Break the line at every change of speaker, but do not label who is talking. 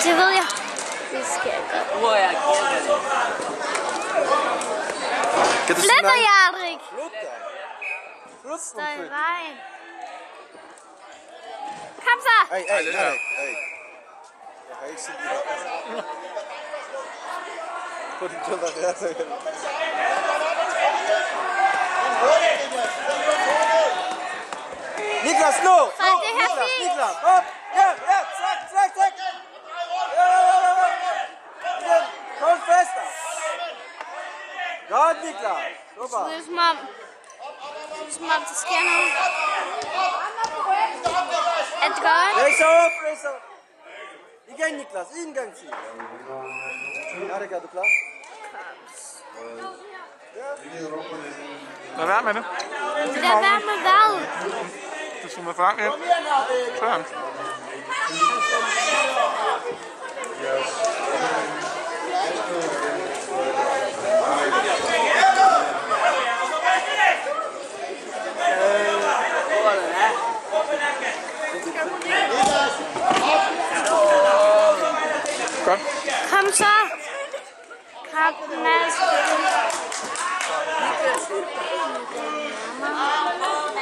Ze wil je eens kijken.
Mooi, ja, ik ken het.
Kijk eens
Flitter,
naar-
Jadrik!
Goed.
Stein rein. Hamza!
Hey, hey,
Hallo.
hey, hey. Ja, hij zit hier. Goed, ik wil dat graag zeggen.
Niklas, no!
Van de Happy!
Niklas, hop! Ja, ja, trek, trek, trek! Ja, ja, ja, ja, ja. Ja, Gewoon vester! Goed, Niklas! Super!
Where's mom? Where's mom to scan her? Edgar?
Race op, race op! Igen, Niklas, ingang zie! Harika, doe klaar?
Daar waren we hem.
Daar waren we wel.
Het is van de vaak weer. Staan. Oké.
Hamza! Gaat naast.
Niklas,